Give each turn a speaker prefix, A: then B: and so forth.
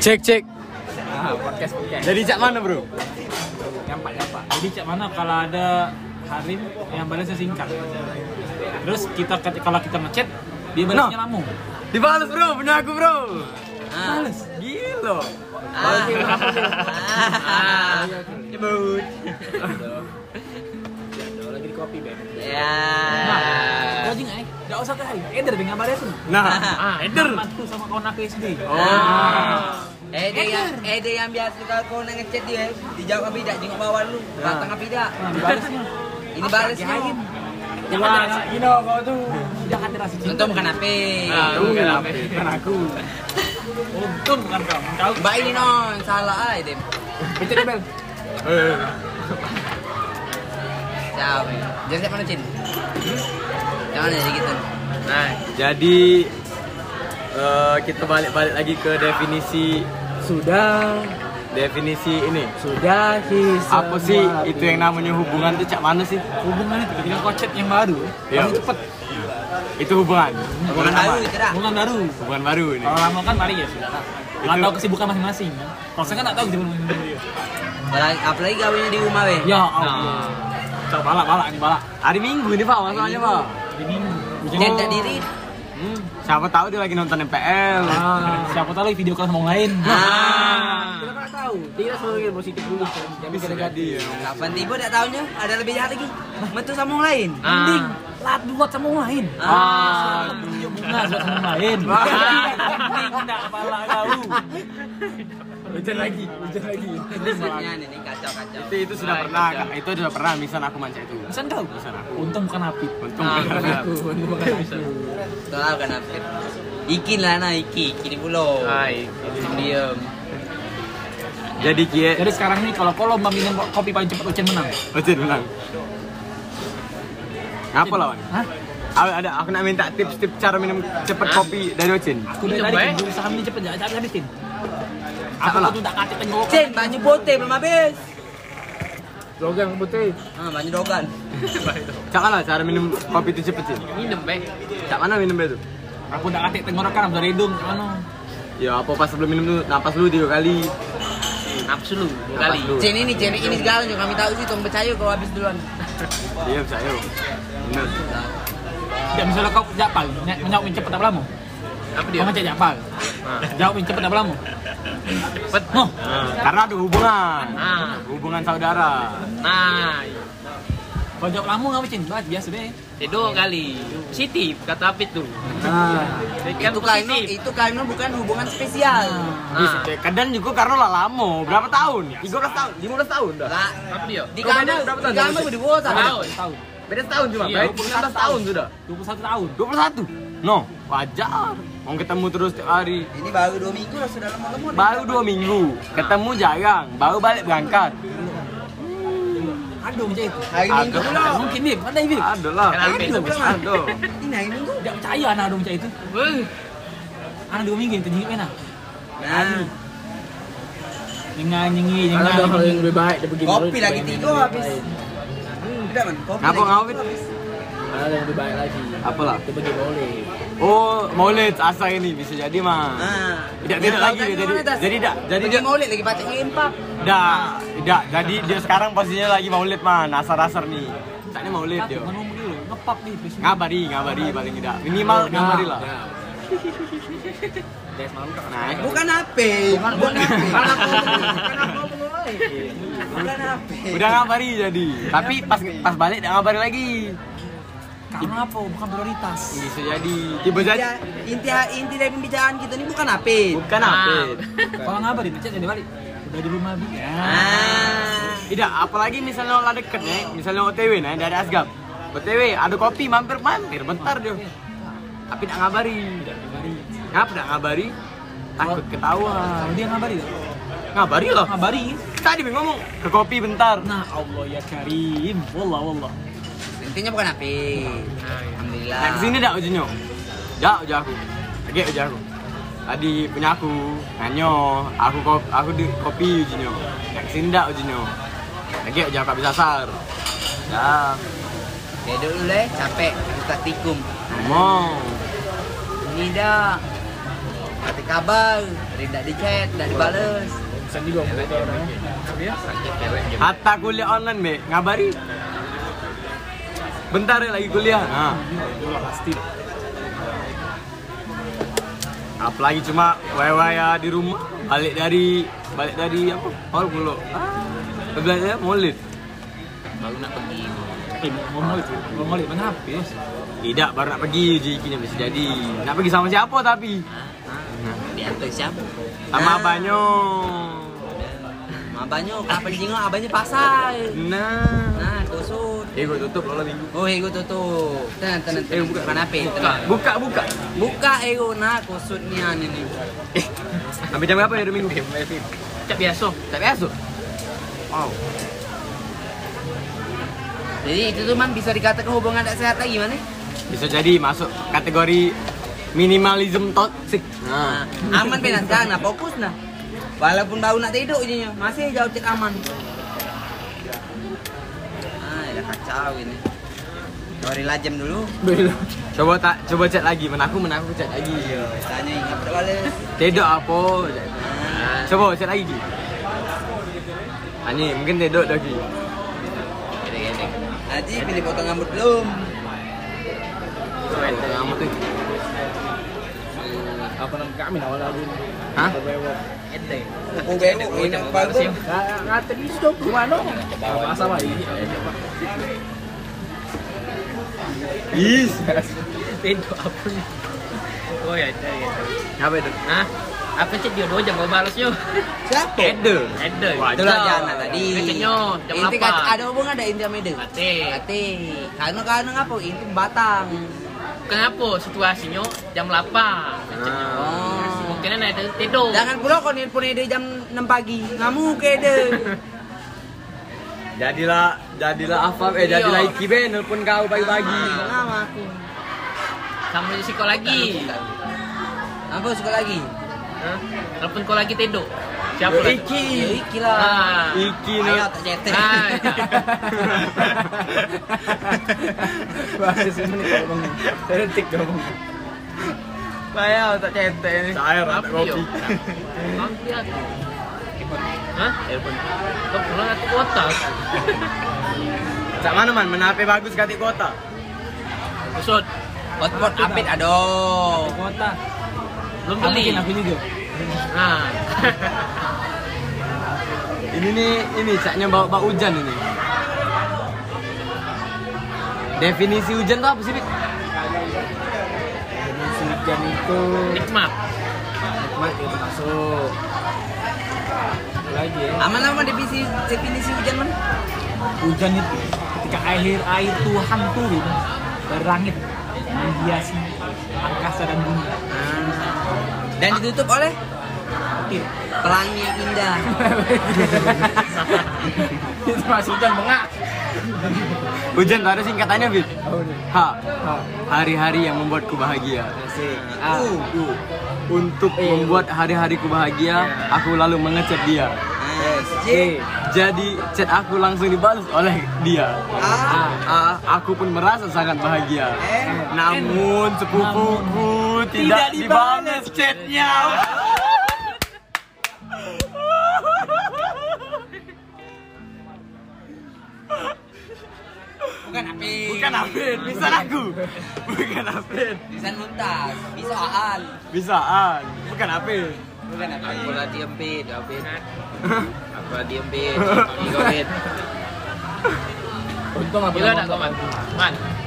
A: Cek cek.
B: Ah, podcast podcast.
C: Dari cak mana bro?
B: Nyampak nyampak. Jadi cak mana kalau ada Harim yang balasnya singkat. Terus kita kalau kita ngechat dia balasnya
C: No.
B: lama.
C: Dibalas bro, punya aku bro.
D: Ah.
C: Balas. Gila. Ah. Iya,
D: Nyebut.
B: Lagi di kopi beb.
D: Ya.
B: Nah, kau jingai. Enggak usah ke Harim. Eh, Eder dengan balas tuh.
C: Nah,
B: Ah, Eder. Mantu sama kawan aku Nah, SD.
D: Oh.
C: Ah.
D: Eh dia yang eh dia yang biasa kalau kau nak ngechat dia, dijawab apa tidak, jengok bawah dulu, batang apa tidak.
B: Nah, balasnya. ya,
D: Ini balasnya.
B: Jangan ada,
A: Ino kau tuh.
B: jangan ada rasa cinta.
D: Untung bukan HP.
C: Ah, bukan apa.
B: Bukan aku. Untung bukan kau. Kau
D: Mbak ini non, salah ay dem.
B: Itu deh, Bel.
C: Eh,
D: Ciao. eh. Jadi siapa nucin? Hmm? Jangan jadi gitu.
C: Nah, jadi eh, kita balik-balik lagi ke definisi
A: Sudah,
C: definisi ini.
A: sudah sih.
C: Apa sih itu yang namanya hubungan tuh cak mana sih?
B: Hubungannya tiba-tiba kau chat yang baru.
C: Iya.
B: Baru cepet.
C: Itu hubungan.
D: Bukan
C: lama.
D: baru tidak.
B: Hubungan baru.
C: Hubungan baru ini.
B: Kalau lama kan mari ya sudah lah. Nggak
C: Itu-
B: tahu kesibukan masing-masing. Kalau saya kan nggak tahu kesibukan masing-masing.
D: Apalagi, apalagi gawinya di rumah weh.
A: Nah.
B: Ya Allah. Coba balak balak nih balak.
C: Hari Minggu ini Pak masalahnya Pak.
B: Di minggu. Hujan
D: Chat
B: oh.
D: tak diri.
C: Hmm, Siapa tahu dia lagi nonton MPL.
B: Ah, siapa tahu lagi video call sama orang lain. Nah. kan
D: Ah.
A: Kita nggak tahu. Kita selalu mikir positif dulu. Jangan mikir negatif.
C: ya.
D: Kapan tiba tak tahunya ada lebih jahat lagi. Metu sama orang lain.
B: Mending lat buat sama orang lain.
D: Ah.
B: Tunjuk bunga buat sama orang lain.
D: Ah.
B: Mending tidak balak kau.
A: Hujan lagi, hujan lagi.
D: Maksudnya ini nih, kacau-kacau.
C: Itu, Nah, itu sudah pernah, Kak. itu sudah pernah misan aku manca itu.
B: Pesan kau.
C: Misan aku.
B: Untung bukan api.
C: Untung
D: Ah,
C: benar.
A: Aku, bukan aku.
D: Tahu kan apa? Ikin lah nah, Iki, Iki di pulau.
C: Hai.
D: Diam.
C: Jadi Kie,
B: Jadi sekarang nih kalau kau lomba minum kopi paling cepat Ucen menang.
C: Ocin menang. Ngapa lawan?
B: Hah?
C: Aku ada aku nak minta tips-tips cara minum cepet kopi dari Ocin.
B: Aku dari tadi kan berusaha minum cepat jangan cari habisin. Aku
C: Salah.
B: tuh tak kacik tenggorokan.
D: Cen, baju putih belum habis.
A: Logang putih.
D: Ah, baju dogan.
C: Cak mana cara minum kopi itu cepet sih? Minum be. Cak mana minum be itu?
B: Aku tak kacik tenggorokan sama dari hidung. Mana?
C: Ya apa pas sebelum minum tuh napas dulu tiga kali. Napas dulu dua
D: Cen ini, Cen ini segala juga kami tahu sih, tong percaya kau habis duluan.
C: kali. Iya bisa yuk. Bener.
B: Ya misalnya kau japal, ny- menjawab yang cepat apa lama? Apa dia? Ah. Kau macam japal. Jawab yang cepat apa lama? Cepat. Noh.
C: Nah, Karena ada hubungan.
E: Ah,
C: Hubungan saudara.
B: Kau jawab lama nggak macam Bah, biasa deh.
E: Tidur kali. Positif kata Apit tuh.
C: Ah.
E: Kan
D: Itu kan
E: positif. Ah,
D: itu kan bukan hubungan spesial.
B: Ah.
E: Nah,
C: Bisa, kadang juga karena lah lama. Berapa tahun? 13 tahun, 15 tahun dah.
D: Lah,
E: apa dia?
D: di
C: Kau beda
D: kamar,
C: berapa
D: di
C: tahun?
D: kamar berdua sama.
E: Tahun.
B: Tahun.
C: Beda setahun cuma,
E: Iya,
C: iya, 19 tahun sudah.
B: 21 tahun.
C: 21? No, wajar. Mau ketemu terus tiap hari.
D: Ini baru dua minggu lah sudah lama-lama.
C: Baru dua minggu, ketemu jarang, baru balik berangkat.
B: Aduh macam itu.
D: Hari minggu
C: Agak-
D: pula.
B: Tak mungkin Bib, ada Bib.
C: Ada lah.
E: Kenal Bib.
C: Ada.
D: Ini hari minggu.
B: Tidak percaya anak ada macam itu.
E: Weh,
B: Anak dua minggu itu jingit mana?
D: Nah,
B: Dengan nyingi,
A: Kalau ada hal yang
B: nyingi.
A: lebih baik, dia pergi dulu,
D: kopi
A: dia
D: lagi
A: pengen
D: tidur
A: yang lebih
D: habis.
A: baik.
D: Hmm, Tidak man, kopi.
C: Ngapa
D: lagi
C: ngawin?
D: tidur habis.
A: Ada yang lebih baik lagi.
C: Apalah?
A: Dia pergi boleh.
C: Oh, Maulid asal ini bisa jadi mah.
D: Ah.
C: Tidak tidak lagi
D: Yang
C: jadi
D: mana, Tas?
C: jadi tidak jadi
D: Pergi
C: dia
D: maulid lagi pacak ngempak.
C: tidak tidak jadi dia sekarang posisinya lagi Maulid mah nasar-nasar nih. Saatnya Maulid
B: Tapi
C: dia.
B: ngomong dulu, ngepap nih. Bib.
C: Ngabari, ngabari paling tidak. Minimal ngabari lah. Nah,
D: Bukan HP. Bukan HP. Bukan HP. Bukan HP.
C: udah ngabari jadi. Tapi pas pas balik tidak ngabari lagi.
B: Karena apa? Bukan prioritas.
C: Bisa jadi tiba
D: Inti,
C: jadi
D: inti inti dari pembicaraan kita ini bukan HP.
C: bukan apa.
B: Kalau ngabarin, macet jadi balik. Udah di rumah Bib. Ya.
D: Ah.
C: Tidak, apalagi misalnya orang deket nih, misalnya OTW nih dari Asgab. OTW, ada kopi mampir mampir, bentar dia. Tapi tidak ngabari. Ngapa tidak ngabari? Takut ketahuan.
B: Kalau dia ngabarin, tak?
C: Ngabari loh.
B: ngabarin.
C: Tadi Bing ngomong ke kopi bentar.
B: Nah Allah ya Karim, wallah wallah.
D: Intinya bukan HP. Alhamdulillah.
C: Nah, kesini dak ujungnya. Dak uja aku. Lagi uja aku. Tadi punya aku, nanyo, aku ko- aku di kopi ujungnya. Nah, kesini dak ujungnya. Lagi uja aku habis asar. Ya,
D: Ya dulu leh, capek. Kita tikum.
C: ngomong.
D: Ini dah. Nanti kabar, dari tidak di chat, tidak dibales.
A: Bisa juga om buta orangnya.
C: Hatta kuliah online, Be. Ngabari. Bentar ya lagi kuliah. Nah.
B: pasti
C: Apalagi cuma wewe ya di rumah, balik dari balik dari apa? Hal pulo. Ah. Belajar maulid.
E: baru nak pergi
B: eh mau mau itu mau mau itu mana habis
C: Tidak, baru nak pergi uji kini bisa jadi. Nak pergi sama siapa tapi?
D: Diantar siapa? Ah.
C: Sama banyo.
D: Abangnya, kapan jengok abangnya pasar.
C: Nah.
D: Nah, kusut.
C: Eh, gua tutup lola minggu.
D: Oh, ego tutup. Tenang, tenang, tenang.
C: Eh, buka.
D: Mana pe? Tenang.
C: Buka, buka.
D: Buka ego, nah kusutnya ini.
C: Sampai jam berapa ya hari minggu?
E: tak biasa
C: Tak biasa. Wow.
D: Jadi itu tuh man bisa dikatakan hubungan tidak sehat lagi mana?
C: Bisa jadi masuk kategori minimalism toxic.
D: Nah,
C: Nah.
D: Ha. aman pe nak sekarang, nah fokus nah. Walaupun bau nak tidur jadinya, masih jauh cek aman. Ah, dah kacau ini. Sorry lajem dulu.
C: Coba tak coba chat lagi, menaku menaku chat lagi.
D: Tanya ingat bales.
C: Tidak apa. Coba chat lagi. Ki. Ani mungkin tidak dah ki.
D: Haji pilih potong rambut belum?
C: Cuek tengah amat tu. Hmm,
A: Apa nama kami awal lagi?
C: Hah?
A: Berbewok.
D: Aku bebek ini nak bagus.
A: Nah, Ngata ni sudah kemana? Masa lah ini.
C: Is.
E: Itu apa ni? Oh ya, ada ya.
C: Apa itu?
E: Hah? Apa cek dia dua jam baru balasnya?
D: Siapa?
C: Ada.
E: Ada.
D: Itulah jana tadi.
E: Keceknya jam
D: Inti kata ada
E: 8.
D: hubungan ada inti sama dia.
E: Ate.
D: Ate. Karena karena apa? Inti batang.
E: Kenapa situasinya jam 8? Keceknya.
C: Ah,
D: Oh.
E: Mungkin ada tidur.
D: Jangan pula kau nelpon dia jam 6 pagi. Ngamuk ke dia.
C: Jadilah jadilah apa eh jadilah
E: Iya.
C: iki be nelpon kau pagi-pagi.
D: Nama Ah, aku.
E: Sama di psikolog lagi.
D: Apa suka lagi?
E: Hah? Telepon kau lagi tidur.
C: Yo,
E: Siapa
C: eh.
E: lah?
C: Iki.
D: Ya, iki lah.
E: Ah.
C: Iki
D: Ayo
C: nak.
D: tak cetek.
E: Ah, ya.
A: Bahasa ni kalau bangun. Heretik kau bangun.
C: Bayar tak cetek ni. Saya tak
E: Apa, yo?
C: kopi.
E: Kau dia tu. Hah? Kau pulang aku kota.
C: Tak mana man, menape bagus katik kota.
E: Besut.
D: Hotpot apit aduh.
B: kota
E: Belum
B: aku
E: beli.
B: bikin aku juga
E: Ah.
C: Ini nih, ini caknya bawa bawa hujan ini. Definisi hujan tuh apa sih, Bit?
A: Definisi hujan itu
E: Nikmat.
A: nikmat itu masuk. Apa Lagi ya.
D: Aman aman definisi definisi hujan mana?
B: hujan itu ketika air air Tuhan turun dari langit menghiasi angkasa dan bumi
D: Dan ditutup oleh
B: petir
D: pelangi yang indah.
A: Itu masih hujan bengak.
C: Hujan tuh ada singkatannya, Bit.
A: Oh ni.
C: H. Hari-hari yang membuatku bahagia.
A: Asik.
C: U. U. Untuk membuat hari-hariku bahagia, aku lalu mengechat dia.
D: S J
A: Eh,
C: Jadi chat aku langsung dibalas oleh dia.
D: A
C: A. Aku pun merasa sangat bahagia.
D: N
C: Namun sepupuku Eh. tidak, dibalas chatnya.
D: bukan apit.
C: Bukan Afin, bisa aku. Bukan Afin,
D: Bisa muntas, bisa aal.
C: bisaan. Bukan Afin.
D: Bukan apit. Aku lagi empit, apit. Aku lagi empit.
E: Gila
A: untung apa?
E: dah kau man. Man.